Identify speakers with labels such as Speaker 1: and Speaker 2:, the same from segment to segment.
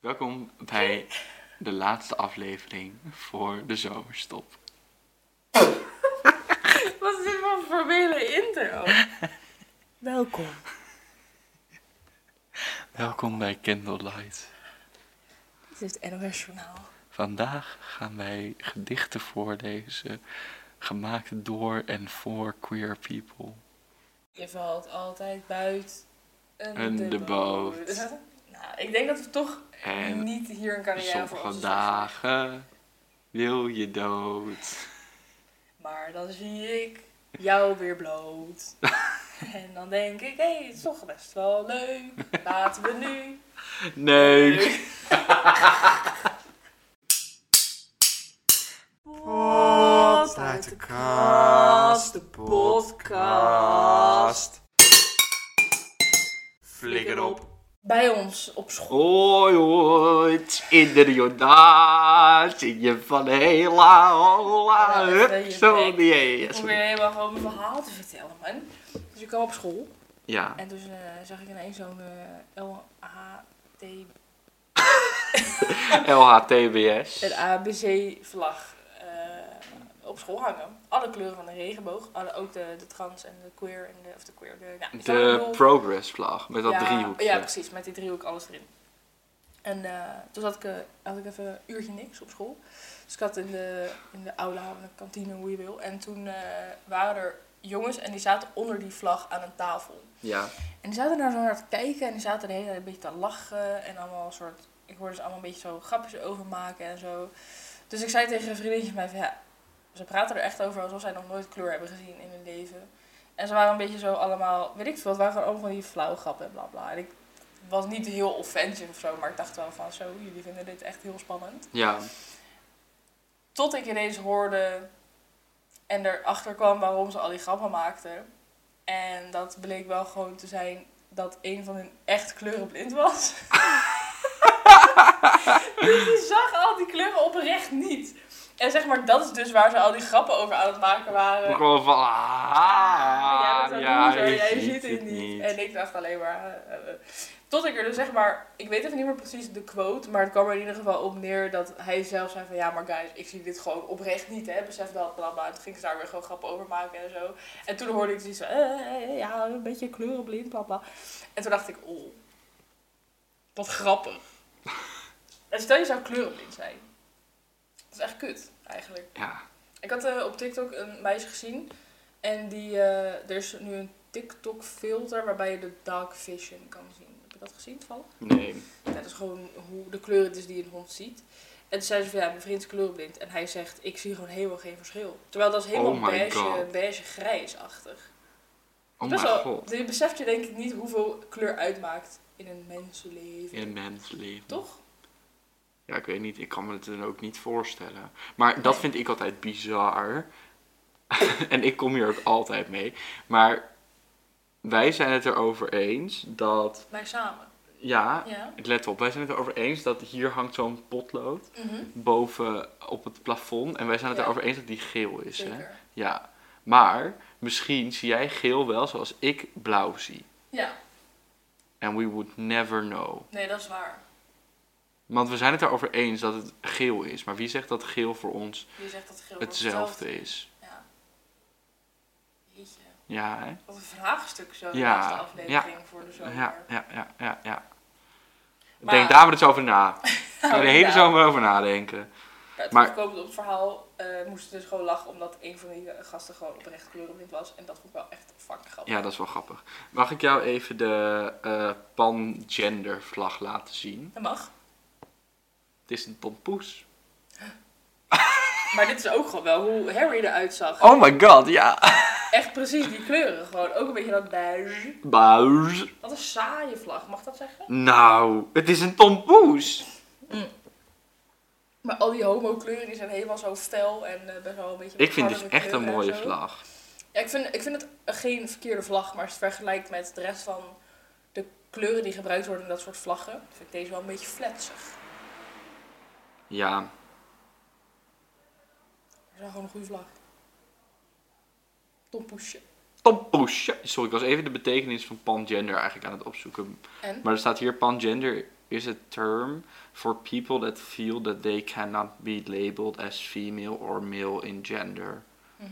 Speaker 1: Welkom bij de laatste aflevering voor de zomerstop.
Speaker 2: Wat is dit voor een formele intro? Welkom.
Speaker 1: Welkom bij Candlelight.
Speaker 2: Dit is het NOS Journaal.
Speaker 1: Vandaag gaan wij gedichten voorlezen, gemaakt door en voor queer people.
Speaker 2: Je valt altijd buiten
Speaker 1: Een de boot.
Speaker 2: nou, ik denk dat we toch
Speaker 1: En
Speaker 2: niet hier een carrière voor
Speaker 1: Sommige
Speaker 2: ons
Speaker 1: dagen wil je dood.
Speaker 2: Maar dan zie ik jou weer bloot. en dan denk ik, hé, het is toch best wel leuk. Laten we nu.
Speaker 1: Nee.
Speaker 2: Pot
Speaker 3: uit de kast, de podcast. Flikker op.
Speaker 2: Bij ons op school.
Speaker 1: Hoi, ooit, inderdaad, in je van hela, hola,
Speaker 2: Ja,
Speaker 1: Ah, hup,
Speaker 2: dat is
Speaker 1: zo,
Speaker 2: een beetje
Speaker 1: nee,
Speaker 2: Ik
Speaker 1: ja, sorry.
Speaker 2: probeer helemaal gewoon mijn verhaal te vertellen, man. Dus ik kwam op school.
Speaker 1: Ja,
Speaker 2: En toen eh, zag ik ineens zo'n eh LHT,
Speaker 1: LHTBS.
Speaker 2: het ABC-vlag eh, op school hangen. Alle kleuren van de regenboog. Alle, ook de, de trans en de queer. En de, of de queer. De, nou, je snapt wat ik
Speaker 1: De
Speaker 2: bedoel.
Speaker 1: progress vlag, met dat
Speaker 2: ja,
Speaker 1: driehoekje.
Speaker 2: Ja, precies. Met die driehoek alles erin. En eh, toen zat ik, eh, had ik even een uurtje niks op school. Dus ik had in de, in de aula of in de kantine, hoe je wil. En toen eh, waren er jongens en die zaten onder die vlag aan een tafel.
Speaker 1: Ja.
Speaker 2: En die zaten daar zo naar te kijken en die zaten de hele tijd een beetje te lachen en allemaal een soort... Ik hoorde ze allemaal een beetje zo grapjes over maken en zo. Dus ik zei tegen een vriendinnetje van mij van ja, ze praten er echt over alsof zij nog nooit kleur hebben gezien in hun leven. En ze waren een beetje zo allemaal, weet ik veel, het waren gewoon allemaal van die flauwe grappen en bla bla. En ik was niet heel offensive of zo, maar ik dacht wel van zo, jullie vinden dit echt heel spannend.
Speaker 1: Ja,
Speaker 2: Tot ik ineens hoorde en erachter kwam waarom ze al die grappen maakten. En dat bleek wel gewoon te zijn dat een van hun echt kleurenblind was. dus die zag al die kleuren oprecht niet. En zeg maar, dat is dus waar ze al die grappen over aan het maken waren.
Speaker 1: gewoon van, ah,
Speaker 2: Ah, jij bent
Speaker 1: ja,
Speaker 2: zo'n loser, jij ziet
Speaker 1: het
Speaker 2: het niet. En ik dacht alleen maar... eh, eh, eh. Tot ik er dus zeg maar... Ik weet even niet meer precies de quote, maar het kwam er in ieder geval op neer dat hij zelf zei van... Ja, maar guys, ik zie dit gewoon oprecht niet, hè. Besef dat, bla bla. En Toen ging ze daar weer gewoon grappen over maken en zo. En toen hoorde ik zoiets van... eh, eh, ja, een beetje kleurenblind, bla bla. En toen dacht ik, oh, wat grappig. en stel je zou kleurenblind zijn. Dat is echt kut, eigenlijk.
Speaker 1: Ja,
Speaker 2: Ik had eh, op TikTok een meisje gezien. En die, eh, er is nu een TikTok filter waarbij je de dark vision kan zien. Heb je dat gezien toevallig?
Speaker 1: nee.
Speaker 2: Ja, dat is gewoon hoe de kleur het is die een hond ziet. En toen zei ze van ja, mijn vriend is kleurenblind. En hij zegt, ik zie gewoon helemaal geen verschil. Terwijl dat is helemaal
Speaker 1: Oh my
Speaker 2: beige,
Speaker 1: God.
Speaker 2: beige grijsachtig.
Speaker 1: Oh
Speaker 2: Best
Speaker 1: mijn
Speaker 2: wel-
Speaker 1: god.
Speaker 2: Je beseft je denk ik niet hoeveel kleur uitmaakt in een mensenleven.
Speaker 1: In een mensleven.
Speaker 2: Toch?
Speaker 1: Ja, ik weet niet, ik kan me het dan ook niet voorstellen. Maar dat vind ik altijd bizar. en ik kom hier ook altijd mee. Maar wij zijn het erover eens dat.
Speaker 2: Wij samen.
Speaker 1: Ja,
Speaker 2: Ja.
Speaker 1: let op, wij zijn het erover eens dat hier hangt zo'n potlood boven op het plafond. En wij zijn het
Speaker 2: Ja.
Speaker 1: erover eens dat die geel is. Hè?
Speaker 2: Zeker.
Speaker 1: Ja, maar misschien zie jij geel wel zoals ik blauw zie.
Speaker 2: Ja.
Speaker 1: And we would never know.
Speaker 2: Nee, dat is waar.
Speaker 1: Want we zijn het erover eens dat het geel is. Maar wie zegt dat geel voor ons
Speaker 2: Je zegt dat geel wordt
Speaker 1: hetzelfde is.
Speaker 2: Ja. Jeetje.
Speaker 1: Ja, hè?
Speaker 2: Wat een vraagstuk zo, de
Speaker 1: Ja,
Speaker 2: laatste aflevering voor de zomer.
Speaker 1: Ja, ja, ja, ja. ja.
Speaker 2: Maar- Oh,
Speaker 1: Denk daar maar eens over na. Ga er de hele
Speaker 2: Ja.
Speaker 1: zomer over nadenken.
Speaker 2: Ja, Nou, het
Speaker 1: maar-
Speaker 2: terugkomend op het verhaal eh moesten ze dus gewoon lachen omdat een van die eh, gasten gewoon oprecht kleurenblind was. En dat vond ik wel echt fucking grappig.
Speaker 1: Ja, dat is wel grappig. Mag ik jou even de eh pangender vlag laten zien?
Speaker 2: Dat mag.
Speaker 1: Het is een tompoes.
Speaker 2: Maar dit is ook gewoon wel hoe Harry eruit zag.
Speaker 1: Oh my god, ja.
Speaker 2: Echt precies die kleuren gewoon. Ook een beetje dat beige.
Speaker 1: Buis.
Speaker 2: Wat een saaie vlag, mag dat zeggen?
Speaker 1: Nou, het is een tompoes.
Speaker 2: Maar al die homo-kleuren die zijn helemaal zo fel en eh, best wel een beetje...
Speaker 1: Ik vind dit
Speaker 2: hardere
Speaker 1: echt een
Speaker 2: kleuren en
Speaker 1: mooie
Speaker 2: zo.
Speaker 1: vlag.
Speaker 2: Ja, ik vind, ik vind het geen verkeerde vlag, maar als je het vergelijkt met de rest van de kleuren die gebruikt worden in dat soort vlaggen, vind ik deze wel een beetje fletsig.
Speaker 1: Ja,
Speaker 2: Dat is wel gewoon een goede vlag. Tompoesje.
Speaker 1: tompoes. Sorry, ik was even de betekenis van pangender eigenlijk aan het opzoeken.
Speaker 2: En?
Speaker 1: Maar er staat hier pangender is a term for people that feel that they cannot be labeled as female or male in gender.
Speaker 2: Mhm.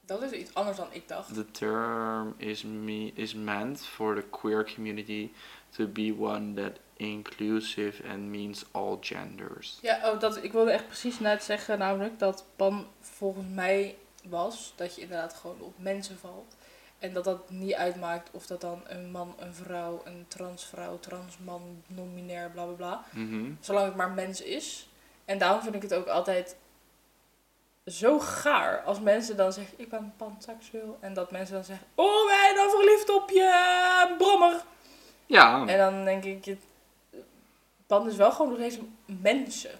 Speaker 2: Dat is iets anders dan ik dacht.
Speaker 1: The term is me is meant for the queer community to be one that inclusive and means all genders.
Speaker 2: Ja, oh, dat, ik wilde echt precies net zeggen, namelijk dat pan volgens mij was dat je inderdaad gewoon op mensen valt. En dat dat niet uitmaakt of dat dan een man, een vrouw, een transvrouw, transman, non-binair, bla bla bla.
Speaker 1: Mhm.
Speaker 2: Zolang het maar mens is. En daarom vind ik het ook altijd zo gaar als mensen dan zeggen: Ik ben panseksueel. En dat mensen dan zeggen: Oh, wij dan verliefd op je eh, brommer.
Speaker 1: Ja,
Speaker 2: En dan denk ik, je, pan is wel gewoon nog steeds mensen.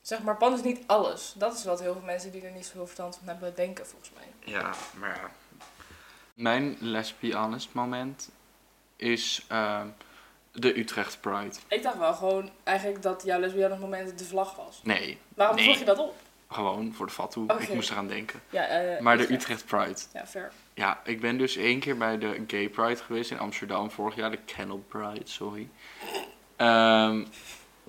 Speaker 2: Zeg maar, pan is niet alles. Dat is wat heel veel mensen die er niet zoveel verstand van hebben denken, volgens mij.
Speaker 1: ja, maar ja. Mijn let's be honest moment is ehm, de Utrecht Pride.
Speaker 2: Ik dacht wel gewoon eigenlijk dat jouw lesbianisme moment de vlag was.
Speaker 1: Nee,
Speaker 2: Waarom
Speaker 1: Nee.
Speaker 2: vroeg je dat op?
Speaker 1: gewoon voor de fatu. Ik
Speaker 2: Oké.
Speaker 1: moest eraan denken.
Speaker 2: Ja, eh,
Speaker 1: Maar de Utrecht Pride.
Speaker 2: Ja, fair.
Speaker 1: Ja, ik ben dus één keer bij de Gay Pride geweest in Amsterdam vorig jaar, de Kennel Pride, sorry. Ehm,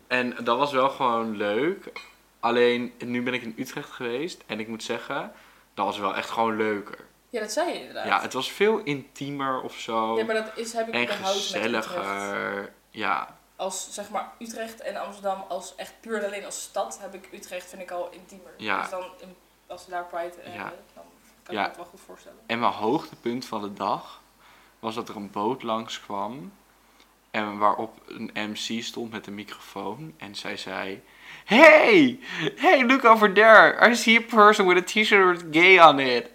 Speaker 1: en dat was wel gewoon leuk. Alleen nu ben ik in Utrecht geweest en ik moet zeggen, dat was wel echt gewoon leuker.
Speaker 2: Ja, dat zei je inderdaad.
Speaker 1: Ja, het was veel intiemer of zo.
Speaker 2: Ja, maar dat is, heb ik
Speaker 1: en
Speaker 2: überhaupt met Utrecht.
Speaker 1: gezelliger. Ja,
Speaker 2: Als, zeg maar, Utrecht en Amsterdam als echt puur en alleen als stad heb ik Utrecht, vind ik al intiemer.
Speaker 1: Ja.
Speaker 2: Dus dan, in- als we daar Pride hebben,
Speaker 1: Ja.
Speaker 2: dan kan
Speaker 1: Ja.
Speaker 2: ik me dat wel goed voorstellen.
Speaker 1: En mijn hoogtepunt van de dag was dat er een boot langskwam. En waarop een MC stond met een microfoon. En zij zei... Hey! Hey, look over there! I see a person with a t-shirt with gay on it.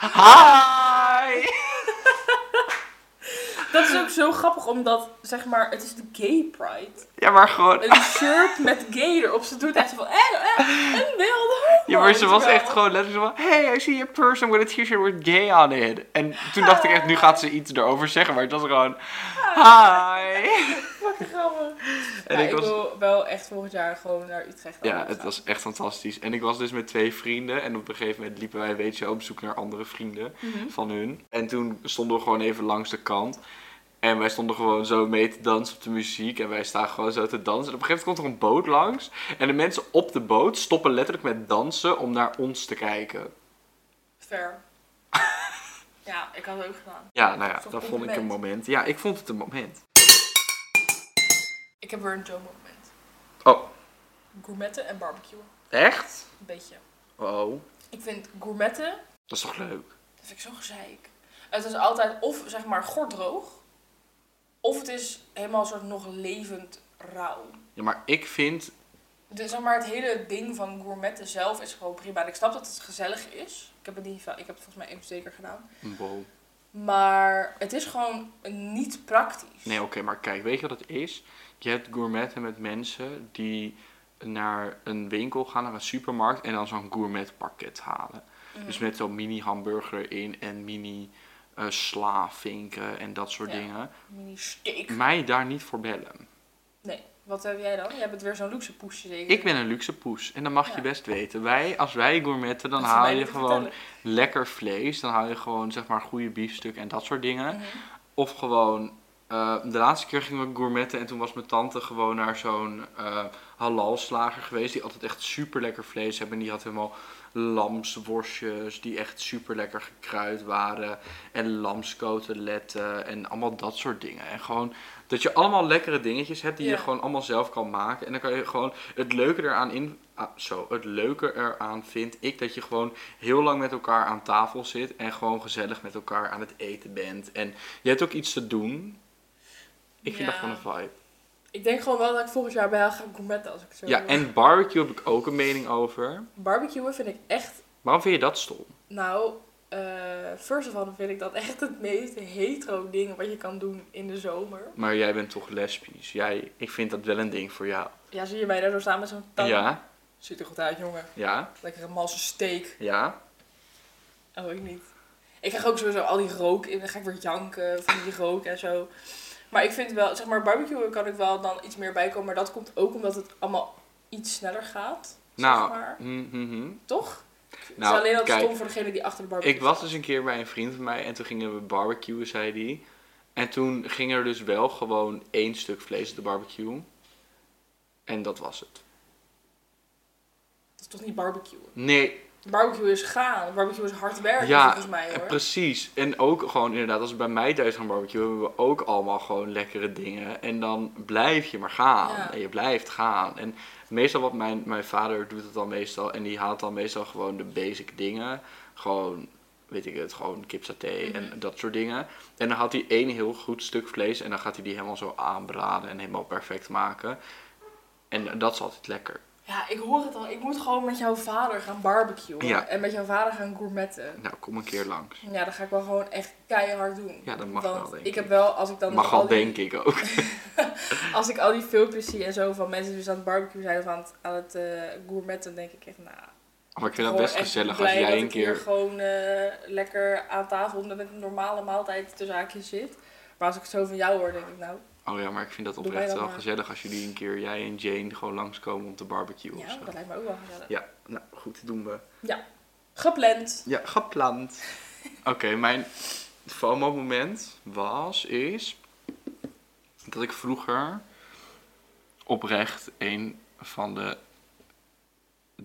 Speaker 1: Hi!
Speaker 2: Dat is ook zo grappig, omdat zeg maar, het is de gay pride.
Speaker 1: Ja, maar gewoon...
Speaker 2: Een shirt met gay erop. Ze doet echt van, eh, eh, een wilde homo.
Speaker 1: Ja, maar ze was
Speaker 2: Terwijl-
Speaker 1: echt gewoon letterlijk van... Hey, I see a person with a t-shirt with gay on it. En toen dacht ik echt, nu gaat ze iets erover zeggen. Maar het was gewoon... Hi!
Speaker 2: Fucking grappig.
Speaker 1: En
Speaker 2: Ja,
Speaker 1: ik
Speaker 2: ik
Speaker 1: was-
Speaker 2: wil wel echt volgend jaar gewoon naar Utrecht. Oh, nou,
Speaker 1: Ja,
Speaker 2: gaan.
Speaker 1: het was echt fantastisch. En ik was dus met twee vrienden. En op een gegeven moment liepen wij, weet je, wel, op zoek naar andere vrienden
Speaker 2: Mhm.
Speaker 1: van hun. En toen stonden we gewoon even langs de kant. En wij stonden gewoon zo mee te dansen op de muziek. En wij staan gewoon zo te dansen. En op een gegeven moment komt er een boot langs. En de mensen op de boot stoppen letterlijk met dansen om naar ons te kijken.
Speaker 2: Fair. ja, ik had het ook gedaan.
Speaker 1: Ja, nou ja,
Speaker 2: Zo'n
Speaker 1: dat vond ik een
Speaker 2: compliment.
Speaker 1: moment. Ja, ik vond het een moment.
Speaker 2: Ik heb weer een Joe moment.
Speaker 1: Oh,
Speaker 2: Gourmetten en barbecue.
Speaker 1: echt?
Speaker 2: Een beetje.
Speaker 1: Oh,
Speaker 2: Ik vind gourmetten,
Speaker 1: dat is toch leuk?
Speaker 2: dat vind ik zo'n gezeik. Het is altijd of zeg maar gordroog. Of het is helemaal een soort nog levend rauw.
Speaker 1: Ja, maar ik vind...
Speaker 2: Dus zeg maar, het hele ding van gourmetten zelf is gewoon prima. En ik snap dat het gezellig is. Ik heb het, niet, va- ik heb het volgens mij even zeker gedaan.
Speaker 1: Wow.
Speaker 2: Maar het is gewoon niet praktisch.
Speaker 1: Nee, oké, maar kijk, weet je wat het is? Je hebt gourmetten met mensen die naar een winkel gaan, naar een supermarkt en dan zo'n gourmetpakket halen.
Speaker 2: Mhm.
Speaker 1: Dus met zo'n mini hamburger erin en mini eh, sla, vinken en dat soort
Speaker 2: Ja.
Speaker 1: dingen.
Speaker 2: Mini steak.
Speaker 1: Mij daar niet voor bellen.
Speaker 2: Nee. Wat heb jij dan? Jij bent weer zo'n luxe poesje zeker?
Speaker 1: Ik ben een luxe poes en dat mag je
Speaker 2: Ja.
Speaker 1: best weten. Wij, als wij gourmetten, dan
Speaker 2: Dat is
Speaker 1: haal
Speaker 2: mij
Speaker 1: je
Speaker 2: niet te
Speaker 1: gewoon
Speaker 2: vertellen.
Speaker 1: lekker vlees. Dan haal je gewoon, zeg maar, goede biefstuk en dat soort dingen.
Speaker 2: Mhm.
Speaker 1: Of gewoon, eh, de laatste keer gingen we gourmetten en toen was mijn tante gewoon naar zo'n eh halalslager geweest. Die altijd echt super lekker vlees hebben. En die had helemaal lamsworstjes die echt super lekker gekruid waren. En lamskoteletten en allemaal dat soort dingen. En gewoon dat je allemaal lekkere dingetjes hebt die je
Speaker 2: Ja.
Speaker 1: gewoon allemaal zelf kan maken. En dan kan je gewoon het leuke eraan in. ah, zo, het leuke eraan vind ik dat je gewoon heel lang met elkaar aan tafel zit. En gewoon gezellig met elkaar aan het eten bent. En je hebt ook iets te doen. Ik vind
Speaker 2: Ja.
Speaker 1: dat gewoon een vibe.
Speaker 2: Ik denk gewoon wel dat ik volgend jaar bij jou ga gourmetten als ik het zo
Speaker 1: Ja,
Speaker 2: doe.
Speaker 1: en barbecue heb ik ook een mening over.
Speaker 2: Barbecuen vind ik echt...
Speaker 1: Waarom vind je dat stom?
Speaker 2: Nou, eh first of all vind ik dat echt het meest hetero ding wat je kan doen in de zomer.
Speaker 1: Maar jij bent toch lesbisch? Jij, ik vind dat wel een ding voor jou.
Speaker 2: Ja, zie je mij daar zo staan met zo'n tang?
Speaker 1: Ja,
Speaker 2: Ziet er goed uit, jongen.
Speaker 1: ja,
Speaker 2: Lekkere malse steak.
Speaker 1: ja.
Speaker 2: Oh, ik niet. Ik krijg ook sowieso al die rook in. Dan ga ik weer janken van die rook en zo. Maar ik vind wel, zeg maar, barbecue kan ik wel dan iets meer bij komen. Maar dat komt ook omdat het allemaal iets sneller gaat. zeg
Speaker 1: Nou,
Speaker 2: maar.
Speaker 1: mhm, mhm.
Speaker 2: Toch? het is
Speaker 1: Nou,
Speaker 2: alleen dat
Speaker 1: kijk.
Speaker 2: stom voor degene die achter de barbecue
Speaker 1: ik was dus een keer bij een vriend van mij en toen gingen we barbecuen, zei die. En toen ging er dus wel gewoon één stuk vlees op de barbecue. En dat was het.
Speaker 2: Dat is toch niet barbecue?
Speaker 1: Nee,
Speaker 2: Barbecue is gaan. Barbecue is hard werken
Speaker 1: Ja,
Speaker 2: volgens mij
Speaker 1: eh,
Speaker 2: hoor.
Speaker 1: precies. En ook gewoon inderdaad, als we bij mij thuis gaan barbecuen, hebben we ook allemaal gewoon lekkere dingen. En dan blijf je maar gaan.
Speaker 2: Ja.
Speaker 1: En je blijft gaan. En meestal wat mijn, mijn vader doet het dan meestal. En die haalt dan meestal gewoon de basic dingen. Gewoon, weet ik het, gewoon kipsaté en
Speaker 2: Mhm.
Speaker 1: dat soort dingen. En dan had hij één heel goed stuk vlees. En dan gaat hij die helemaal zo aanbraden en helemaal perfect maken. En dat is altijd lekker.
Speaker 2: Ja, ik hoor het al. Ik moet gewoon met jouw vader gaan barbecuen.
Speaker 1: Ja.
Speaker 2: En met jouw vader gaan gourmetten.
Speaker 1: Nou, kom een keer langs.
Speaker 2: Ja, dat ga ik wel gewoon echt keihard doen.
Speaker 1: Ja, dat mag
Speaker 2: Want
Speaker 1: wel, denk
Speaker 2: ik heb
Speaker 1: ik.
Speaker 2: wel, als ik dan
Speaker 1: Mag al,
Speaker 2: die-
Speaker 1: denk ik ook.
Speaker 2: Als ik al die filmpjes zie en zo van mensen die dus aan het barbecue zijn of aan het, aan het eh, gourmetten, denk ik echt, nou...
Speaker 1: Maar ik vind dat
Speaker 2: gewoon
Speaker 1: best
Speaker 2: echt
Speaker 1: gezellig als
Speaker 2: blij
Speaker 1: jij
Speaker 2: dat
Speaker 1: een
Speaker 2: ik hier
Speaker 1: keer
Speaker 2: gewoon eh, lekker aan tafel met een normale maaltijd tussen haakjes zit. Maar als ik het zo van jou hoor, denk ik, nou...
Speaker 1: Oh ja, maar ik vind dat
Speaker 2: Doe
Speaker 1: oprecht
Speaker 2: mij dat
Speaker 1: wel
Speaker 2: maar.
Speaker 1: gezellig als jullie een keer, jij en Jane, gewoon langskomen om te barbecue of
Speaker 2: Ja,
Speaker 1: zo.
Speaker 2: dat lijkt me ook wel gezellig.
Speaker 1: Ja, nou goed, doen we.
Speaker 2: Gepland.
Speaker 1: Ja, gepland. Oké, mijn FOMO-moment was, is dat ik vroeger oprecht een van de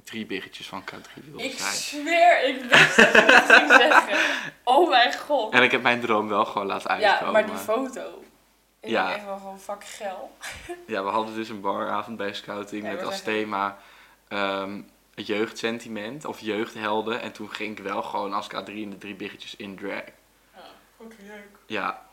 Speaker 1: drie biggetjes van K3 wilde
Speaker 2: Ik
Speaker 1: zijn.
Speaker 2: zweer, ik wist dat je dat ging zeggen. Oh mijn god.
Speaker 1: En ik heb mijn droom wel gewoon laten uitkomen.
Speaker 2: Ja, maar die foto. Ik
Speaker 1: Ja.
Speaker 2: ja. echt wel gewoon fuck geil.
Speaker 1: Ja, we hadden dus een baravond bij Scouting
Speaker 2: Ja,
Speaker 1: met
Speaker 2: dat
Speaker 1: als
Speaker 2: was echt-
Speaker 1: thema ehm, jeugdsentiment of jeugdhelden. En toen ging ik wel gewoon als K3 in de drie biggetjes in drag.
Speaker 2: Fuck leuk.
Speaker 1: Ja,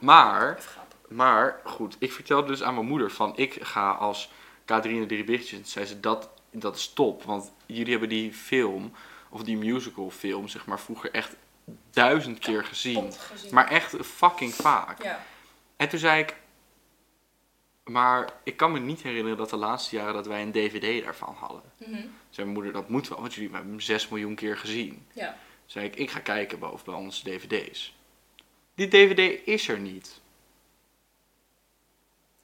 Speaker 1: maar,
Speaker 2: Even grappig.
Speaker 1: maar goed, ik vertelde dus aan mijn moeder van ik ga als K3 in de drie biggetjes. En toen zei ze dat, dat is top, want jullie hebben die film of die musical film zeg maar vroeger echt duizend keer gezien.
Speaker 2: Pot gezien.
Speaker 1: Maar echt fucking vaak.
Speaker 2: Ja.
Speaker 1: En toen zei ik. Maar ik kan me niet herinneren dat de laatste jaren dat wij een DVD daarvan hadden. Toen
Speaker 2: Mhm.
Speaker 1: zei mijn moeder, dat moet wel, want jullie hebben hem 6 miljoen keer gezien. Toen
Speaker 2: Ja.
Speaker 1: zei ik, ik ga kijken boven bij onze DVD's. Die DVD is er niet.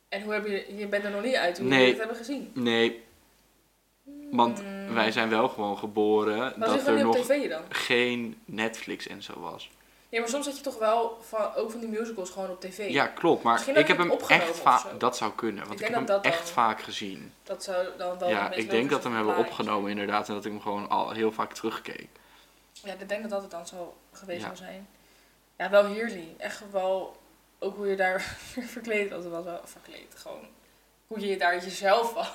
Speaker 2: En hoe heb je... Je bent er nog niet uit hoe
Speaker 1: Nee.
Speaker 2: jullie het hebben gezien.
Speaker 1: Nee, want
Speaker 2: Hmm.
Speaker 1: wij zijn wel gewoon geboren
Speaker 2: Maar
Speaker 1: dat
Speaker 2: zit er
Speaker 1: er
Speaker 2: niet op
Speaker 1: nog
Speaker 2: tv dan?
Speaker 1: geen Netflix en zo was.
Speaker 2: Nee, maar soms zat je toch wel van, ook van die musicals gewoon op tv.
Speaker 1: Ja, klopt, maar
Speaker 2: Misschien
Speaker 1: ik
Speaker 2: had
Speaker 1: heb
Speaker 2: je
Speaker 1: hem
Speaker 2: het opgenomen
Speaker 1: echt
Speaker 2: of
Speaker 1: vaak.
Speaker 2: zo.
Speaker 1: Dat zou kunnen, want ik,
Speaker 2: Ik
Speaker 1: heb
Speaker 2: denk
Speaker 1: hem
Speaker 2: dat dat
Speaker 1: echt
Speaker 2: dan-
Speaker 1: vaak gezien.
Speaker 2: Dat zou dan wel... een
Speaker 1: Ja,
Speaker 2: beetje
Speaker 1: ik denk
Speaker 2: logisch
Speaker 1: dat we hem hebben
Speaker 2: verklaren.
Speaker 1: opgenomen inderdaad en dat ik hem gewoon al heel vaak terugkeek.
Speaker 2: Ja, ik denk dat dat het dan zo geweest
Speaker 1: Ja.
Speaker 2: zou zijn. Ja, wel heerlijk. Echt wel... Ook hoe je daar verkleed was. was wel verkleed. Gewoon hoe je daar jezelf was.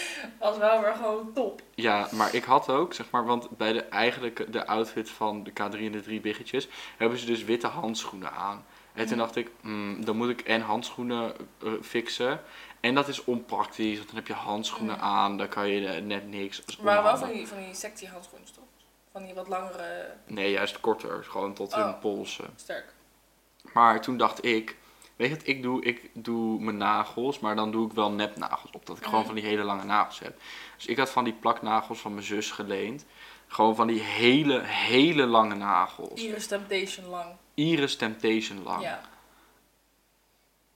Speaker 2: was wel weer gewoon top.
Speaker 1: Ja, maar ik had ook, zeg maar, want bij de eigenlijk de outfit van de K3 en de drie biggetjes hebben ze dus witte handschoenen aan. En toen
Speaker 2: Mhm.
Speaker 1: dacht ik, hmm, dan moet ik en handschoenen eh, fixen. En dat is onpraktisch, want dan heb je handschoenen
Speaker 2: Mhm.
Speaker 1: aan, dan kan je eh, net niks. Dat is
Speaker 2: Maar wel
Speaker 1: onhandig.
Speaker 2: van die, van die sexy handschoenen, toch? Van die wat langere,
Speaker 1: Nee, juist korter, gewoon tot hun
Speaker 2: Oh.
Speaker 1: polsen.
Speaker 2: sterk.
Speaker 1: Maar toen dacht ik, weet je wat ik doe? Ik doe mijn nagels, maar dan doe ik wel nepnagels op. Dat ik gewoon
Speaker 2: Mhm.
Speaker 1: van die hele lange nagels heb. Dus ik had van die plaknagels van mijn zus geleend. Gewoon van die hele, hele lange nagels.
Speaker 2: Iris Temptation lang.
Speaker 1: Iris Temptation lang.
Speaker 2: Ja.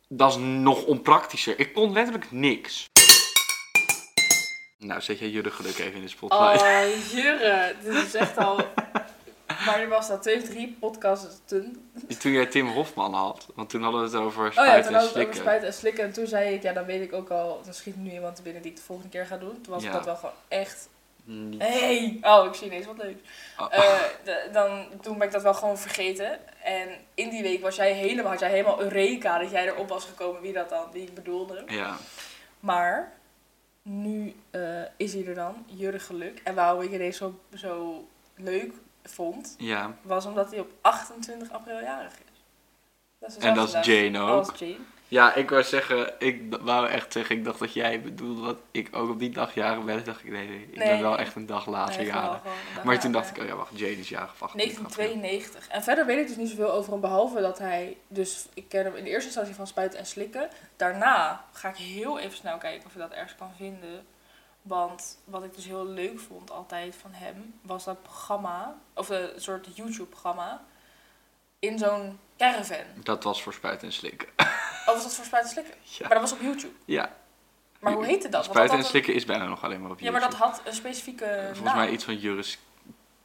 Speaker 1: Dat is nog onpraktischer. Ik kon letterlijk niks. Nou, zet jij jullie geluk even in de spotlight.
Speaker 2: Oh, Jurre. Dit is echt al... Maar er was dat twee, drie podcasten.
Speaker 1: Toen jij Tim Hofman had, want toen hadden we het over
Speaker 2: Oh ja,
Speaker 1: spuiten
Speaker 2: toen
Speaker 1: en
Speaker 2: hadden we het over
Speaker 1: slikken.
Speaker 2: spuiten en slikken. En toen zei ik, ja, dan weet ik ook al... Dan schiet nu iemand binnen die ik de volgende keer ga doen. Toen was
Speaker 1: Ja.
Speaker 2: dat wel gewoon echt...
Speaker 1: Niet-
Speaker 2: Hey! Oh, ik zie ineens wat leuk.
Speaker 1: Oh.
Speaker 2: Eh, de- dan, toen ben ik dat wel gewoon vergeten. En in die week was jij helemaal, had jij helemaal Eureka dat jij erop was gekomen wie dat dan, die ik bedoelde.
Speaker 1: Ja,
Speaker 2: Maar nu eh, is hij er dan, Jurre Geluk. En waarom ik ineens zo, zo leuk vond,
Speaker 1: ja.
Speaker 2: was omdat hij op 28 april jarig is. Dat is
Speaker 1: En dat is
Speaker 2: dezelfde
Speaker 1: Jane
Speaker 2: dag
Speaker 1: ook.
Speaker 2: als Jane.
Speaker 1: Ja, ik wou zeggen, ik d- wou echt zeggen, ik dacht dat jij bedoelde wat ik ook op die dag jaren ben. Toen dacht ik, nee, nee, ik ben
Speaker 2: Nee.
Speaker 1: wel echt een dag later
Speaker 2: Nee,
Speaker 1: jaren.
Speaker 2: gewoon- gewoon een
Speaker 1: Maar
Speaker 2: dag
Speaker 1: toen dacht ik,
Speaker 2: later.
Speaker 1: oh ja, wacht, Jane is jarig van
Speaker 2: 1992. En verder weet ik dus niet zoveel over hem, behalve dat hij... Dus ik ken hem in de eerste instantie van Spuiten en Slikken. Daarna ga ik heel even snel kijken of je dat ergens kan vinden. Want wat ik dus heel leuk vond altijd van hem, was dat programma... Of eh, een soort YouTube-programma in zo'n caravan.
Speaker 1: Dat was voor spuiten en slikken.
Speaker 2: Of was dat voor Spuiten en Slikken?
Speaker 1: Ja.
Speaker 2: Maar dat was op YouTube.
Speaker 1: Ja,
Speaker 2: Maar hoe heette dat? Want dat
Speaker 1: spuiten en
Speaker 2: had
Speaker 1: slikken is bijna nog alleen maar op
Speaker 2: een- Ja, maar dat eh, nou.
Speaker 1: YouTube.
Speaker 2: had een specifieke
Speaker 1: Volgens
Speaker 2: naam.
Speaker 1: mij iets van Juris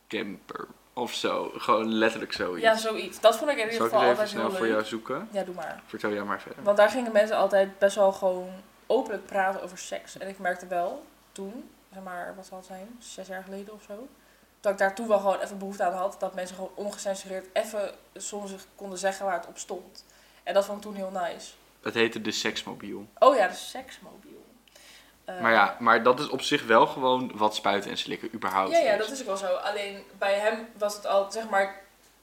Speaker 1: Kemper Of zo. Gewoon letterlijk zoiets.
Speaker 2: Ja, zoiets. Dat vond ik in ieder
Speaker 1: Zal ik
Speaker 2: geval
Speaker 1: het even
Speaker 2: altijd
Speaker 1: snel
Speaker 2: heel
Speaker 1: voor
Speaker 2: leuk.
Speaker 1: jou zoeken?
Speaker 2: Ja, doe maar.
Speaker 1: Vertel jij maar verder.
Speaker 2: Want daar gingen mensen altijd best wel gewoon openlijk praten over seks. En ik merkte wel toen, zeg maar, wat zal het zijn, zes jaar geleden of zo. Dat ik daar toen wel gewoon even behoefte aan had. Dat mensen gewoon ongecensureerd even soms konden zeggen waar het op stond. En dat vond ik toen heel nice.
Speaker 1: Het heette de seksmobiel.
Speaker 2: Oh ja, de seksmobiel. Eh,
Speaker 1: Maar ja, maar dat is op zich wel gewoon wat spuiten en slikken überhaupt
Speaker 2: Ja, ja,
Speaker 1: is.
Speaker 2: dat is ook wel zo. Alleen bij hem was het al, zeg maar,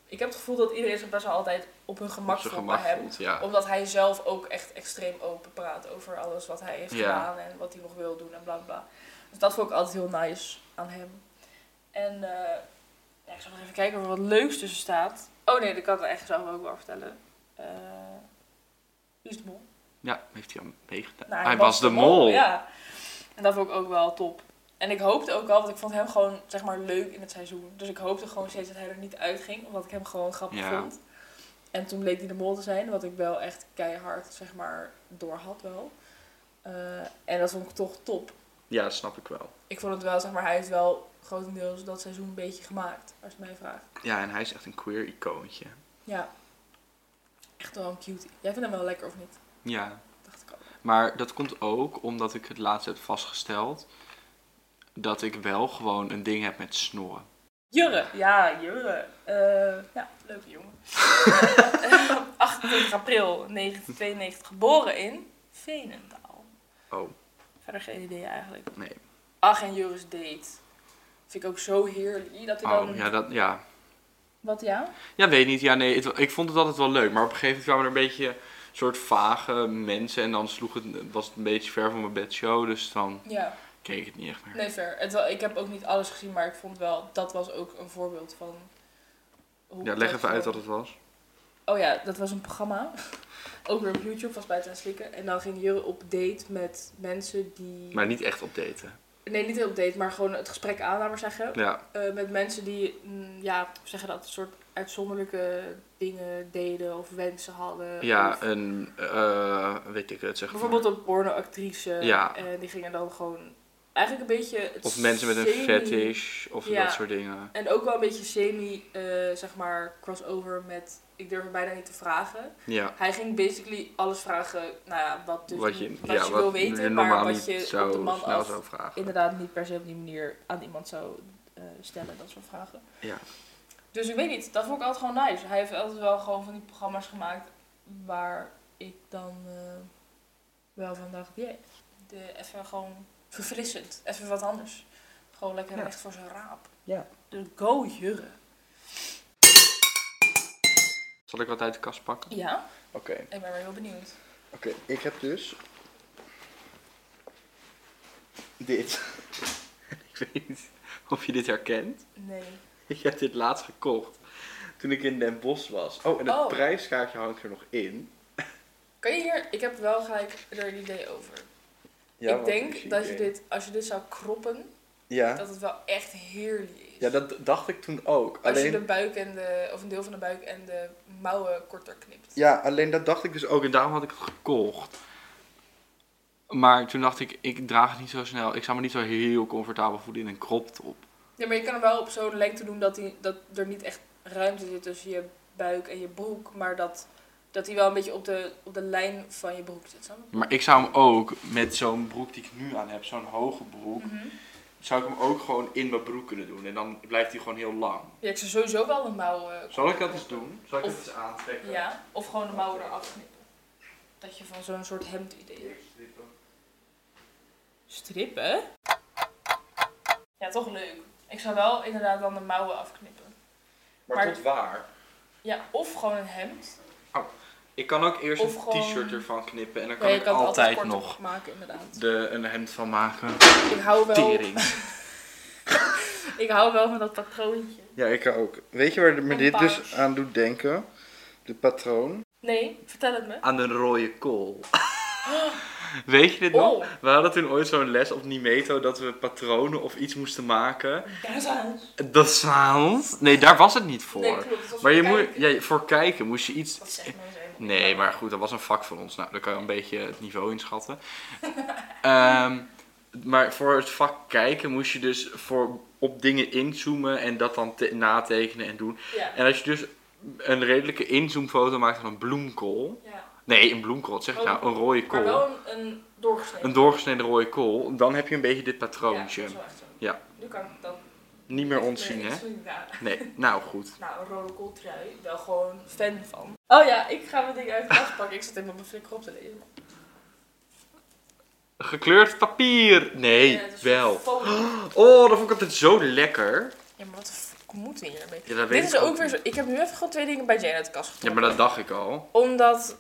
Speaker 2: ik heb het gevoel dat iedereen zich best wel altijd op hun gemak
Speaker 1: Op zijn
Speaker 2: voelt bij hem.
Speaker 1: voelt, ja.
Speaker 2: Omdat hij zelf ook echt extreem open praat over alles wat hij heeft
Speaker 1: Ja.
Speaker 2: gedaan en wat hij nog wil doen en bla bla. Dus dat vond ik altijd heel nice aan hem. En eh, ja, ik zal nog even kijken of er wat leuks tussen staat. Oh nee, dat kan ik echt zelf ook wel vertellen. Eh wie is de mol?
Speaker 1: Ja, heeft hij al meegedaan.
Speaker 2: Nou,
Speaker 1: hij, was, de mol.
Speaker 2: Ja. En dat vond ik ook wel top. En ik hoopte ook wel, want ik vond hem gewoon zeg maar leuk in het seizoen. Dus ik hoopte gewoon steeds dat hij er niet uitging, omdat ik hem gewoon grappig
Speaker 1: Ja.
Speaker 2: vond. En toen bleek hij de mol te zijn, wat ik wel echt keihard zeg maar door had wel. Eh, en dat vond ik toch top.
Speaker 1: Ja, dat snap ik wel.
Speaker 2: Ik vond het wel, zeg maar, hij heeft wel grotendeels dat seizoen een beetje gemaakt, als je mij vraagt.
Speaker 1: Ja, en hij is echt een queer icoontje.
Speaker 2: Ja. Echt wel een cutie. Jij vindt hem wel lekker of niet?
Speaker 1: Ja,
Speaker 2: Dacht ik ook.
Speaker 1: maar dat komt ook omdat ik het laatst heb vastgesteld dat ik wel gewoon een ding heb met snorren.
Speaker 2: Jurre. Ja, Jurre. Eh, ja, leuke jongen. 28 april 1992 geboren in Venendaal.
Speaker 1: Oh,
Speaker 2: Verder geen idee eigenlijk.
Speaker 1: nee.
Speaker 2: Ach, en Jurre's date. Vind ik ook zo heerlijk. Dat hij dan...
Speaker 1: Oh, ja, dat, ja.
Speaker 2: Wat, ja?
Speaker 1: Ja, weet niet. Ja, nee, het- ik vond het altijd wel leuk. Maar op een gegeven moment kwamen er een beetje soort vage mensen. En dan sloeg het, was het een beetje ver van mijn bedshow. Dus dan
Speaker 2: Ja,
Speaker 1: keek ik het niet echt meer.
Speaker 2: nee, ver. Het, wel- ik heb ook niet alles gezien, maar ik vond wel... Dat was ook een voorbeeld van... Hoe
Speaker 1: Ja,
Speaker 2: ik
Speaker 1: leg
Speaker 2: dat
Speaker 1: even uit
Speaker 2: gewoon-
Speaker 1: wat het was.
Speaker 2: Oh ja, dat was een programma. ook weer op YouTube, was buiten aan het slikken. En dan ging Jurre op date met mensen die...
Speaker 1: Maar niet echt op daten.
Speaker 2: Nee, niet heel op date, maar gewoon het gesprek aan, laten we zeggen.
Speaker 1: Ja,
Speaker 2: Eh, met mensen die, mm, ja, hoe zeg je dat, een soort uitzonderlijke dingen deden of wensen hadden.
Speaker 1: ja
Speaker 2: Of
Speaker 1: een, eh, weet ik het, zeg maar.
Speaker 2: bijvoorbeeld een pornoactrice.
Speaker 1: Ja.
Speaker 2: En die gingen dan gewoon eigenlijk een beetje... het
Speaker 1: Of mensen met een
Speaker 2: semi-
Speaker 1: fetish of
Speaker 2: Ja.
Speaker 1: dat soort dingen.
Speaker 2: En ook wel een beetje semi, eh, zeg maar, crossover met, ik durf het bijna niet te vragen.
Speaker 1: Ja,
Speaker 2: Hij ging basically alles vragen, nou ja, wat, dus,
Speaker 1: wat je,
Speaker 2: wat
Speaker 1: ja,
Speaker 2: je
Speaker 1: wat
Speaker 2: wil
Speaker 1: je
Speaker 2: weten, maar
Speaker 1: normaal
Speaker 2: wat
Speaker 1: niet
Speaker 2: je
Speaker 1: zo
Speaker 2: op de man
Speaker 1: snel
Speaker 2: af
Speaker 1: zou vragen.
Speaker 2: inderdaad niet per se op die manier aan iemand zou eh, stellen, dat soort vragen.
Speaker 1: Ja.
Speaker 2: Dus ik weet niet, dat vond ik altijd gewoon nice. Hij heeft altijd wel gewoon van die programma's gemaakt waar ik dan eh, wel van dacht, jee, de- even gewoon verfrissend, even wat anders. Gewoon lekker
Speaker 1: Ja.
Speaker 2: echt voor zijn raap.
Speaker 1: Ja.
Speaker 2: Dus go jurre.
Speaker 1: Zal ik wat uit de kast pakken?
Speaker 2: Ja,
Speaker 1: Oké.
Speaker 2: ik ben wel heel benieuwd.
Speaker 1: Oké, ik heb dus... Dit. ik weet niet of je dit herkent.
Speaker 2: Nee.
Speaker 1: Ik heb dit laatst gekocht. Toen ik in Den Bosch was. Oh, en het
Speaker 2: Oh.
Speaker 1: prijskaartje hangt er nog in.
Speaker 2: Kan je hier, ik heb wel gelijk er een idee over. ik
Speaker 1: wat is
Speaker 2: denk dat je
Speaker 1: idee?
Speaker 2: dit, als je dit zou kroppen,
Speaker 1: Ja,
Speaker 2: dat het wel echt heerlijk is.
Speaker 1: ja dat dacht ik toen ook.
Speaker 2: Als je
Speaker 1: Alleen,
Speaker 2: de buik en de, of een deel van de buik en de mouwen korter knipt.
Speaker 1: Ja, alleen dat dacht ik dus ook. En daarom had ik het gekocht. Maar toen dacht ik, ik draag het niet zo snel. Ik zou me niet zo heel comfortabel voelen in een crop top.
Speaker 2: Ja, maar je kan hem wel op zo'n lengte doen dat, die, dat er niet echt ruimte zit tussen je buik en je broek. Maar dat, dat hij wel een beetje op de, op de lijn van je broek zit. Snap je?
Speaker 1: Maar ik zou hem ook met zo'n broek die ik nu aan heb, zo'n hoge broek,
Speaker 2: Mhm.
Speaker 1: zou ik hem ook gewoon in mijn broek kunnen doen. En dan blijft hij gewoon heel lang.
Speaker 2: Ja, ik zou sowieso wel de mouwen...
Speaker 1: Zal ik dat eens doen? Zal ik
Speaker 2: Of-
Speaker 1: het eens aantrekken?
Speaker 2: Ja, of gewoon de mouwen eraf knippen. Dat je van zo'n soort hemd idee hebt. Strippen? Ja, toch leuk. Ik zou wel inderdaad dan de mouwen afknippen.
Speaker 1: Maar,
Speaker 2: Maar-
Speaker 1: tot waar?
Speaker 2: Ja, of gewoon een hemd.
Speaker 1: Ik kan ook eerst
Speaker 2: Of
Speaker 1: een
Speaker 2: gewoon-
Speaker 1: t-shirt ervan knippen en dan
Speaker 2: Ja,
Speaker 1: kan
Speaker 2: je
Speaker 1: ik
Speaker 2: kan het
Speaker 1: altijd
Speaker 2: korter
Speaker 1: nog
Speaker 2: maken, inderdaad.
Speaker 1: de, een hemd van maken.
Speaker 2: Ik hou wel,
Speaker 1: Tering.
Speaker 2: ik hou wel van dat patroontje.
Speaker 1: Ja, ik ook. Weet je waar me
Speaker 2: En dit dus paars.
Speaker 1: aan doet denken? De patroon.
Speaker 2: Nee, vertel het me.
Speaker 1: Aan een rode kool. Weet je dit nog?
Speaker 2: Oh.
Speaker 1: We hadden toen ooit zo'n les op Nimeto dat we patronen of iets moesten maken.
Speaker 2: Daar zijn ze.
Speaker 1: Dat sound. Nee, daar was het niet voor.
Speaker 2: Nee, klopt. dat was
Speaker 1: maar je
Speaker 2: kijken.
Speaker 1: moet, ja, voor kijken moest je iets
Speaker 2: Dat zegt men zo helemaal niet.
Speaker 1: Nee, maar goed, dat was een vak van ons. Nou, dan kan je een beetje het niveau inschatten. Ehm, maar voor het vak kijken moest je dus voor op dingen inzoomen en dat dan te- natekenen en doen.
Speaker 2: Ja.
Speaker 1: En als je dus een redelijke inzoomfoto maakt van een bloemkool.
Speaker 2: ja.
Speaker 1: Nee, een bloemkool, wat
Speaker 2: Oh.
Speaker 1: zeg ik nou? Een rode
Speaker 2: Maar
Speaker 1: kool.
Speaker 2: wel een, een doorgesneden.
Speaker 1: Een doorgesneden rode kool. Dan heb je een beetje dit patroontje.
Speaker 2: Ja, dat is wel echt zo.
Speaker 1: Ja.
Speaker 2: Nu kan ik dat
Speaker 1: Niet meer ontzien, hè?
Speaker 2: Ja.
Speaker 1: Nee, nou goed.
Speaker 2: Nou, een rode kooltrui. Wel gewoon fan van. Oh ja, ik ga mijn ding uit de kast pakken. Ik zat helemaal mijn flikker op te lezen.
Speaker 1: Gekleurd papier! Nee,
Speaker 2: Ja, dat is
Speaker 1: wel.
Speaker 2: gewoon folie.
Speaker 1: Oh, dat vond ik altijd zo lekker.
Speaker 2: Ja, maar wat de fuck moet hiermee?
Speaker 1: Ja, dat weet
Speaker 2: Dit is
Speaker 1: ik
Speaker 2: ook weer zo... Ik heb nu even gewoon twee dingen bij Jane uit de kast
Speaker 1: Ja,
Speaker 2: getrokken.
Speaker 1: maar dat dacht ik al.
Speaker 2: Omdat...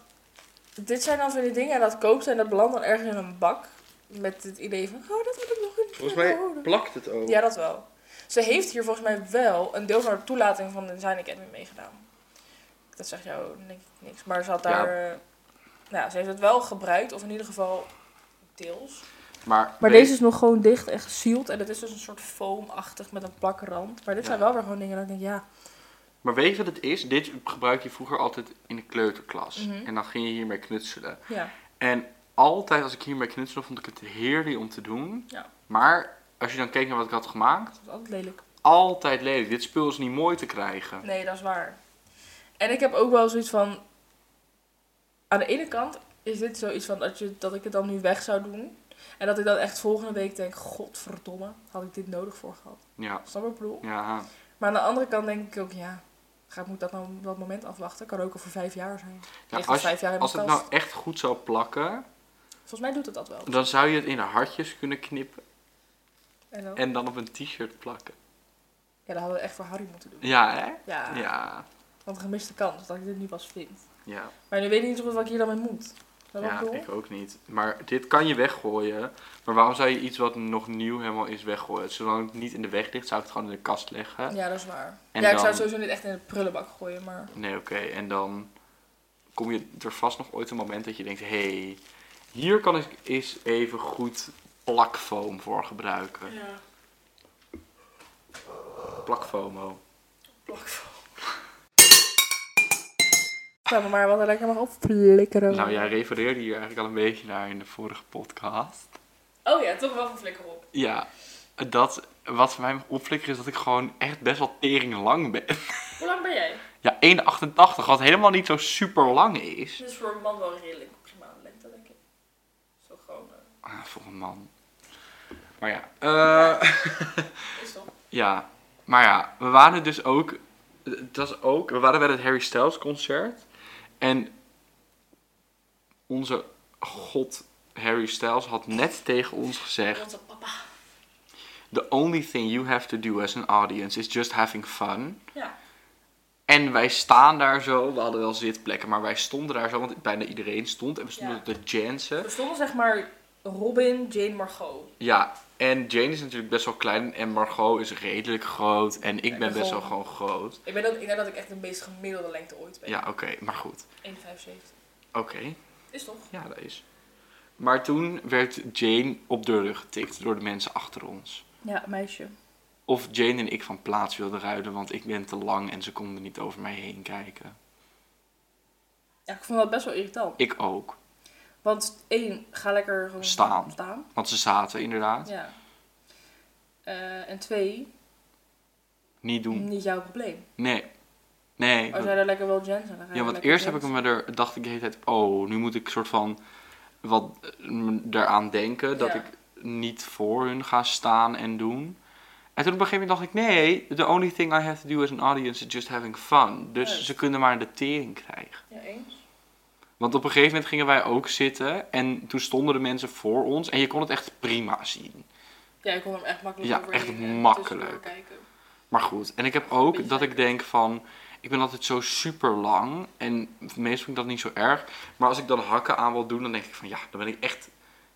Speaker 2: Dit zijn dan van die dingen en dat koopt en dat belandt dan ergens in een bak. Met het idee van, oh, dat moet ik nog in. houden.
Speaker 1: plakt het ook.
Speaker 2: Ja, Oh, dat wel. Ze heeft hier volgens mij wel een deel van haar toelating van de Design Academy meegedaan. Dat zegt jou denk ik niks. Maar ze had
Speaker 1: Ja.
Speaker 2: daar... eh, nou, ze heeft het wel gebruikt. Of in ieder geval deels.
Speaker 1: Maar,
Speaker 2: Maar
Speaker 1: weet-
Speaker 2: deze is nog gewoon dicht en gesield. En het is dus een soort foamachtig met een plakrand. Maar dit
Speaker 1: Ja.
Speaker 2: zijn wel weer gewoon dingen dat ik denk, ja.
Speaker 1: maar weet je wat het is? Dit gebruikte je vroeger altijd in de kleuterklas.
Speaker 2: Mhm.
Speaker 1: En dan ging je hiermee knutselen.
Speaker 2: ja.
Speaker 1: En altijd als ik hiermee knutselde, vond ik het heerlijk om te doen.
Speaker 2: Ja.
Speaker 1: Maar als je dan keek naar wat ik had gemaakt,
Speaker 2: Dat is altijd lelijk.
Speaker 1: altijd lelijk. Dit spul is niet mooi te krijgen.
Speaker 2: Nee, dat is waar. En ik heb ook wel zoiets van... Aan de ene kant is dit zoiets van dat, je, dat ik het dan nu weg zou doen. En dat ik dan echt volgende week denk, godverdomme, had ik dit nodig voor gehad.
Speaker 1: Ja.
Speaker 2: Snap je wat ik bedoel?
Speaker 1: Ja.
Speaker 2: Maar aan de andere kant denk ik ook, ja, ga, ik moet dat nou op dat moment afwachten? Kan ook over vijf jaar zijn.
Speaker 1: Ja,
Speaker 2: Ligt al
Speaker 1: als,
Speaker 2: vijf jaar in
Speaker 1: als
Speaker 2: mijn
Speaker 1: het
Speaker 2: kast.
Speaker 1: nou echt goed zou plakken,
Speaker 2: Volgens mij doet het dat wel.
Speaker 1: dan zou je het in de hartjes kunnen knippen.
Speaker 2: En dan?
Speaker 1: En dan op een t-shirt plakken.
Speaker 2: Ja, dat hadden we echt voor Harry moeten doen.
Speaker 1: Ja, hè?
Speaker 2: Ja,
Speaker 1: Ja.
Speaker 2: want een gemiste kans dat ik dit nu pas vind.
Speaker 1: Ja,
Speaker 2: Maar nu weet ik niet zo goed wat ik hier dan mee moet. Snap je wat ik
Speaker 1: ja
Speaker 2: bedoel?
Speaker 1: ik ook niet. Maar dit kan je weggooien. Maar waarom zou je iets wat nog nieuw helemaal is weggooien? Zolang het niet in de weg ligt, zou ik het gewoon in de kast leggen.
Speaker 2: Ja, dat is waar.
Speaker 1: En
Speaker 2: ja, ik
Speaker 1: dan-
Speaker 2: zou het sowieso niet echt in de prullenbak gooien, maar...
Speaker 1: Nee, oké. En dan kom je er vast nog ooit een moment dat je denkt... Hé, hey, hier kan ik eens even goed plakfoam voor gebruiken.
Speaker 2: Ja,
Speaker 1: Plakfomo.
Speaker 2: plakvol. Laten we maar wat er lekker mag opflikkeren.
Speaker 1: Nou, jij refereerde hier eigenlijk al een beetje naar in de vorige podcast.
Speaker 2: Oh ja, toch wel van flikker op.
Speaker 1: Ja, dat... Wat voor mij mag opflikkeren is dat ik gewoon echt best wel tering lang ben.
Speaker 2: Hoe lang ben jij?
Speaker 1: Ja, 1,88, wat helemaal niet zo super lang is.
Speaker 2: Dus voor een man wel redelijk prima lengte, denk ik. Zo gewoon... eh,
Speaker 1: Ah, voor een man. Maar ja. eh,
Speaker 2: is toch?
Speaker 1: ja. Maar ja, we waren dus ook. Dat is ook. We waren bij het Harry Styles concert. En onze god Harry Styles had net tegen ons gezegd:
Speaker 2: Onze papa.
Speaker 1: The only thing you have to do as an audience is just having fun.
Speaker 2: Ja.
Speaker 1: En wij staan daar zo. We hadden wel zitplekken, maar wij stonden daar zo, want bijna iedereen stond. En we stonden
Speaker 2: Ja.
Speaker 1: te jansen.
Speaker 2: Er stonden zeg maar Robin, Jane, Margot.
Speaker 1: Ja, en Jane is natuurlijk best wel klein en Margot is redelijk groot en ik ben best wel gewoon groot.
Speaker 2: Ik ben ook, ik denk dat ik echt de meest gemiddelde lengte ooit ben.
Speaker 1: Ja, oké, maar goed.
Speaker 2: 1,75.
Speaker 1: Oké,
Speaker 2: Is toch?
Speaker 1: ja, dat is. Maar toen werd Jane op de rug getikt door de mensen achter ons.
Speaker 2: Ja, meisje.
Speaker 1: Of Jane en ik van plaats wilden ruilen, want ik ben te lang en ze konden niet over mij heen kijken.
Speaker 2: Ja, ik vond dat best wel irritant.
Speaker 1: Ik ook,
Speaker 2: Want één, ga lekker gewoon
Speaker 1: Staan.
Speaker 2: staan.
Speaker 1: want ze zaten inderdaad.
Speaker 2: Ja. Eh, en twee,
Speaker 1: Niet doen.
Speaker 2: niet jouw probleem.
Speaker 1: Nee, nee.
Speaker 2: Als jij daar lekker wil jansen, dan ga je
Speaker 1: Ja, want
Speaker 2: lekker
Speaker 1: eerst heb ik
Speaker 2: jansen.
Speaker 1: me er, dacht ik de hele tijd, oh, nu moet ik soort van wat eh, m- daaraan denken dat
Speaker 2: Ja.
Speaker 1: ik niet voor hun ga staan en doen. En toen op een gegeven moment dacht ik, nee, the only thing I have to do as an audience is just having fun. Dus
Speaker 2: Juist.
Speaker 1: ze kunnen maar de tering krijgen.
Speaker 2: Ja, eens.
Speaker 1: Want op een gegeven moment gingen wij ook zitten en toen stonden de mensen voor ons en je kon het echt prima zien.
Speaker 2: Ja, ik kon hem echt makkelijk
Speaker 1: Ja,
Speaker 2: overheen
Speaker 1: echt
Speaker 2: en tussendoor
Speaker 1: makkelijk.
Speaker 2: kijken.
Speaker 1: Maar goed, en ik heb ook
Speaker 2: Beetje
Speaker 1: dat ik
Speaker 2: lekker.
Speaker 1: denk van, ik ben altijd zo super lang en meestal vind ik dat niet zo erg. Maar als ik dan hakken aan wil doen, dan denk ik van ja, dan ben ik echt,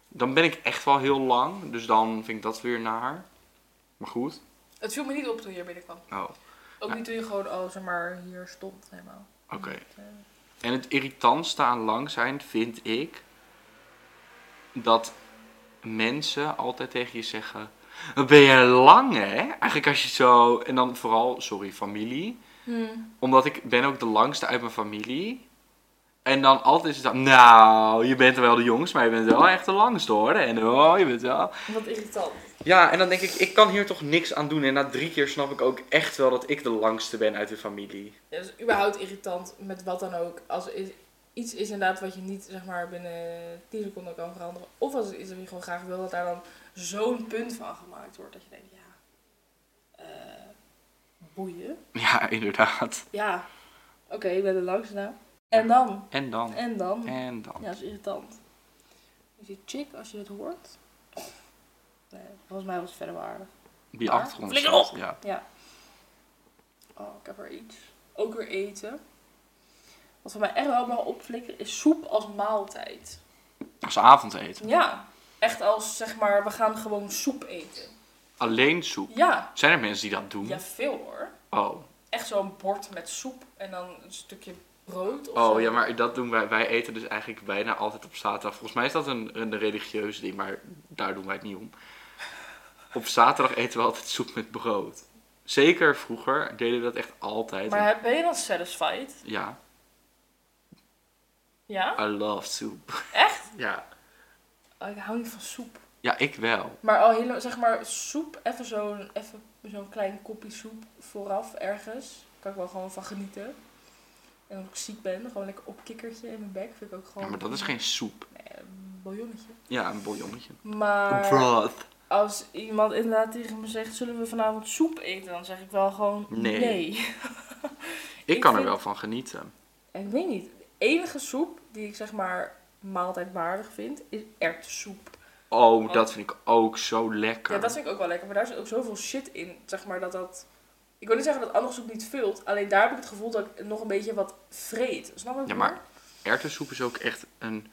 Speaker 1: dan ben ik echt wel heel lang. Dus dan vind ik dat weer naar. Maar goed.
Speaker 2: Het viel me niet op toen je hier binnenkwam.
Speaker 1: Oh,
Speaker 2: Ook
Speaker 1: Ja.
Speaker 2: niet toen je gewoon, oh, zeg maar, hier stond helemaal.
Speaker 1: oké.
Speaker 2: Eh,
Speaker 1: En het irritantste aan lang zijn vind ik dat mensen altijd tegen je zeggen, "Wat ben je lang hè? Eigenlijk als je zo, en dan vooral, sorry familie.
Speaker 2: hmm.
Speaker 1: Omdat ik ben ook de langste uit mijn familie. En dan altijd is het dan, nou, je bent wel de jongste, maar je bent wel echt de langste hoor. En oh, je bent wel...
Speaker 2: Wat irritant.
Speaker 1: Ja, en dan denk ik, ik kan hier toch niks aan doen. En na drie keer snap ik ook echt wel dat ik de langste ben uit de familie.
Speaker 2: Ja, dat is überhaupt irritant met wat dan ook. Als er is, iets is inderdaad wat je niet zeg maar binnen 10 seconden kan veranderen. Of als het iets is wat je gewoon graag wil, dat daar dan zo'n punt van gemaakt wordt. Dat je denkt, ja, eh, boeien.
Speaker 1: Ja, inderdaad.
Speaker 2: Ja, oké, ik ben er langs na. En dan?
Speaker 1: En dan.
Speaker 2: En dan?
Speaker 1: En dan.
Speaker 2: Ja, dat is irritant. Is die chick, als je dit hoort? Nee, volgens mij was het verder waar.
Speaker 1: Die
Speaker 2: Waar?
Speaker 1: achtergrond.
Speaker 2: Ah, Flikker op!
Speaker 1: Ja.
Speaker 2: Ja. Oh, ik heb er iets. Ook weer eten. Wat voor mij echt wel mag opflikkeren is soep als maaltijd.
Speaker 1: Als avondeten.
Speaker 2: Ja. Echt als zeg maar, we gaan gewoon soep eten.
Speaker 1: Alleen soep.
Speaker 2: Ja.
Speaker 1: Zijn er mensen die dat doen?
Speaker 2: Ja, veel hoor.
Speaker 1: Oh.
Speaker 2: Echt zo'n bord met soep en dan een stukje brood of zo.
Speaker 1: Oh ja, maar dat doen wij. Wij eten dus eigenlijk bijna altijd op zaterdag. Volgens mij is dat een, een religieus ding, maar daar doen wij het niet om. Op zaterdag eten we altijd soep met brood. Zeker vroeger deden we dat echt altijd.
Speaker 2: Maar heb- ben je dan satisfied?
Speaker 1: Ja,
Speaker 2: Ja?
Speaker 1: I love soep.
Speaker 2: Echt?
Speaker 1: Ja.
Speaker 2: Oh, ik hou niet van soep.
Speaker 1: Ja, ik wel.
Speaker 2: Maar al heel, zeg maar, soep, even zo'n even zo'n klein kopje soep vooraf ergens. Kan ik wel gewoon van genieten. En als ik ziek ben, gewoon lekker opkikkertje in mijn bek. Vind ik ook gewoon.
Speaker 1: Ja, maar dat is geen soep.
Speaker 2: Nee, een bouillonnetje.
Speaker 1: Ja, een bouillonnetje.
Speaker 2: Maar
Speaker 1: broth.
Speaker 2: als iemand inderdaad tegen me zegt: zullen we vanavond soep eten? Dan zeg ik wel gewoon
Speaker 1: Nee.
Speaker 2: nee.
Speaker 1: Ik
Speaker 2: Ik
Speaker 1: kan er
Speaker 2: vind-
Speaker 1: wel van genieten.
Speaker 2: En ik weet niet. De enige soep die ik zeg maar maaltijdwaardig vind, is erwtensoep.
Speaker 1: Oh, dat vind ik ook zo lekker.
Speaker 2: Ja, dat vind ik ook wel lekker. Maar daar zit ook zoveel shit in, zeg maar, dat dat... Ik wil niet zeggen dat andere soep niet vult. Alleen daar heb ik het gevoel dat ik nog een beetje wat vreet. Snap je wat ik
Speaker 1: Ja,
Speaker 2: bedoel?
Speaker 1: maar- Erwtensoep is ook echt een,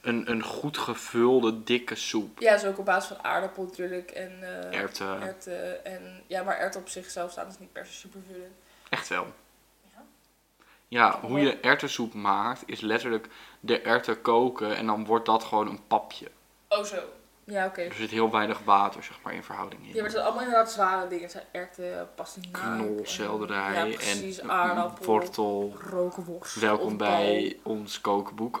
Speaker 1: een, een goed gevulde, dikke soep.
Speaker 2: Ja, is ook op basis van aardappel natuurlijk. En eh
Speaker 1: Erwten.
Speaker 2: erwten En, ja, maar erwten op zichzelf staan is niet per se super vullen.
Speaker 1: Echt wel.
Speaker 2: Ja?
Speaker 1: Ja, hoe je erwtensoep maakt is letterlijk de erwten koken en dan wordt dat gewoon een papje.
Speaker 2: Oh zo. Ja, oké.
Speaker 1: Er zit heel weinig water zeg maar in verhouding in.
Speaker 2: Ja, maar het zijn allemaal inderdaad zware dingen. Het zijn erwten, pastinaak.
Speaker 1: Knol,
Speaker 2: en-
Speaker 1: selderij
Speaker 2: Ja, precies.
Speaker 1: en
Speaker 2: aardappel.
Speaker 1: wortel.
Speaker 2: Rokenworst.
Speaker 1: Welkom
Speaker 2: of bal.
Speaker 1: bij ons kookboek.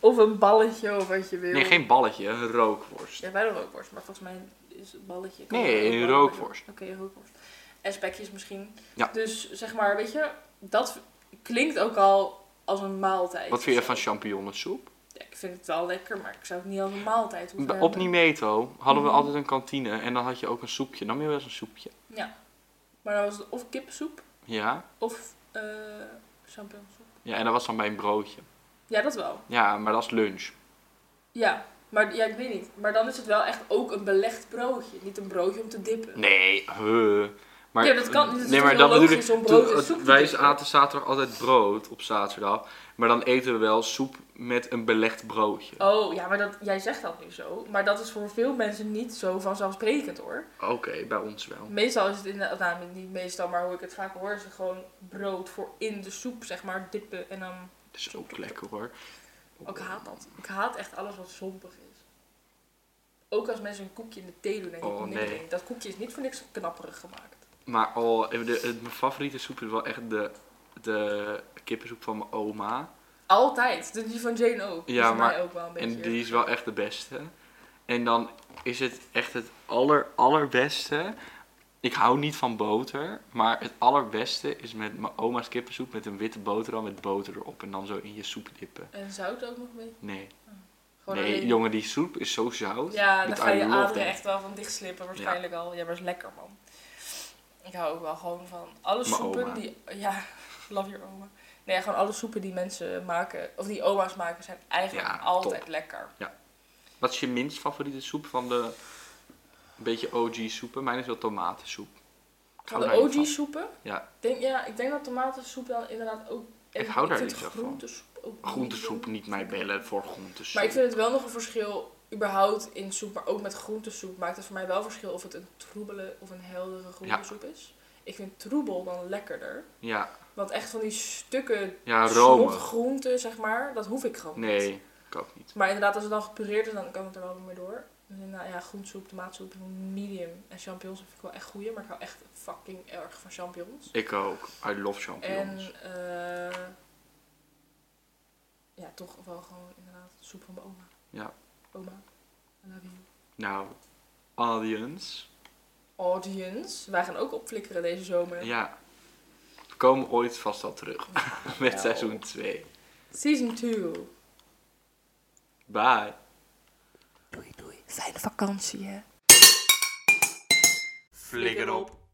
Speaker 2: Of een balletje of wat je wil.
Speaker 1: Nee, geen balletje, een rookworst.
Speaker 2: Ja, bij de rookworst, maar volgens mij is het balletje. kan
Speaker 1: Nee,
Speaker 2: er ook
Speaker 1: een
Speaker 2: wel
Speaker 1: rookworst.
Speaker 2: bij. Oké, een rookworst. En spekjes misschien.
Speaker 1: Ja.
Speaker 2: Dus zeg maar, weet je, dat klinkt ook al als een maaltijd.
Speaker 1: Wat vind je van champignonsoep?
Speaker 2: Ja, ik vind het wel lekker, maar ik zou het niet als een maaltijd hoeven
Speaker 1: Op
Speaker 2: hebben.
Speaker 1: Nimeto hadden we
Speaker 2: Mhm.
Speaker 1: altijd een kantine en dan had je ook een soepje. Nam je wel eens een soepje?
Speaker 2: Ja. Maar dan was het of kippensoep
Speaker 1: Ja?
Speaker 2: of eh champignonsoep.
Speaker 1: Ja, en dat was dan bij een broodje.
Speaker 2: Ja, dat wel.
Speaker 1: Ja, maar dat is lunch.
Speaker 2: Ja. Maar ja, ik weet niet. Maar dan is het wel echt ook een belegd broodje. Niet een broodje om te dippen.
Speaker 1: Nee, huh. Maar,
Speaker 2: Ja, dat kan niet. Dat is
Speaker 1: Nee, maar
Speaker 2: toch
Speaker 1: dat
Speaker 2: heel
Speaker 1: bedoel ik.
Speaker 2: logisch om brood
Speaker 1: toen-
Speaker 2: en soep te
Speaker 1: wij
Speaker 2: drinken?
Speaker 1: aten zaterdag altijd brood op zaterdag. Maar dan eten we wel soep met een belegd broodje.
Speaker 2: Oh, ja, maar dat, jij zegt dat nu zo. Maar dat is voor veel mensen niet zo vanzelfsprekend hoor.
Speaker 1: Oké, bij ons wel.
Speaker 2: Meestal is het inderdaad, nou niet meestal, maar hoe ik het vaak hoor, is het gewoon brood voor in de soep, zeg maar, dippen en dan...
Speaker 1: Dat is ook lekker hoor.
Speaker 2: Oh, ik haat dat. Ik haat echt alles wat zompig is. Ook als mensen een koekje in de thee doen, denk ik,
Speaker 1: Oh,
Speaker 2: nee,
Speaker 1: nee.
Speaker 2: nee, dat koekje is niet voor niks knapperig gemaakt.
Speaker 1: Maar oh, de, de- mijn favoriete soep is wel echt de, de kippensoep van mijn oma.
Speaker 2: Altijd. De- Die van Jane ook.
Speaker 1: Ja,
Speaker 2: Ja, maar...
Speaker 1: maar-
Speaker 2: Mij ook wel een beetje.
Speaker 1: En die is wel echt de beste. En dan is het echt het aller, allerbeste. Ik hou niet van boter, maar het allerbeste is met mijn oma's kippensoep met een witte boterham met boter erop en dan zo in je soep dippen.
Speaker 2: En zout ook nog een beetje.
Speaker 1: Nee,
Speaker 2: Gewoon
Speaker 1: nee
Speaker 2: alleen-
Speaker 1: jongen, die soep is zo zout.
Speaker 2: Ja, dan
Speaker 1: Met
Speaker 2: ga
Speaker 1: I
Speaker 2: je
Speaker 1: love
Speaker 2: aderen
Speaker 1: that.
Speaker 2: echt wel van dicht slippen waarschijnlijk al. Ja, maar is lekker man. Ik hou ook wel gewoon van alle
Speaker 1: Mijn
Speaker 2: soepen
Speaker 1: oma.
Speaker 2: die... Ja, love your oma. Nee, gewoon alle soepen die mensen maken, of die oma's maken, zijn eigenlijk
Speaker 1: Ja,
Speaker 2: altijd lekker.
Speaker 1: Wat is je minst favoriete soep van de een beetje OG soepen? Mijn is wel tomatensoep. Ik
Speaker 2: Van
Speaker 1: hou
Speaker 2: de
Speaker 1: daar niet van.
Speaker 2: OG-soepen?
Speaker 1: Ja.
Speaker 2: Denk, ja, ik denk dat tomatensoep dan inderdaad ook...
Speaker 1: Ik hou daar
Speaker 2: vind
Speaker 1: niet zo van.
Speaker 2: groentesoep ook niet
Speaker 1: Groentesoep, niet mij bellen voor groentesoep.
Speaker 2: Maar ik vind het wel nog een verschil, überhaupt in soep, maar ook met groentesoep maakt het voor mij wel verschil of het een troebele of een heldere groentesoep is. Ik vind troebel dan lekkerder.
Speaker 1: Ja,
Speaker 2: Want echt van die stukken
Speaker 1: ja
Speaker 2: groenten,
Speaker 1: Rome.
Speaker 2: groente, zeg maar, dat hoef ik gewoon niet.
Speaker 1: Nee, ik ook niet.
Speaker 2: Maar inderdaad, als het dan gepureerd is, dan kan het er wel weer mee door. Dus nou ja, groentesoep, tomaatsoep, medium en champignons vind ik wel echt goeie. Maar ik hou echt fucking erg van champignons.
Speaker 1: Ik ook. I love champignons.
Speaker 2: En eh, ja, toch wel gewoon inderdaad soep van mijn oma.
Speaker 1: Ja.
Speaker 2: Oma, I love you.
Speaker 1: Nou, audience.
Speaker 2: Audience, wij gaan ook opflikkeren deze zomer.
Speaker 1: Ja. We komen ooit vast al terug met
Speaker 2: Nou.
Speaker 1: seizoen 2.
Speaker 2: Season 2.
Speaker 1: Bye.
Speaker 2: Doei doei. Fijne vakantie hè.
Speaker 3: Flikker op.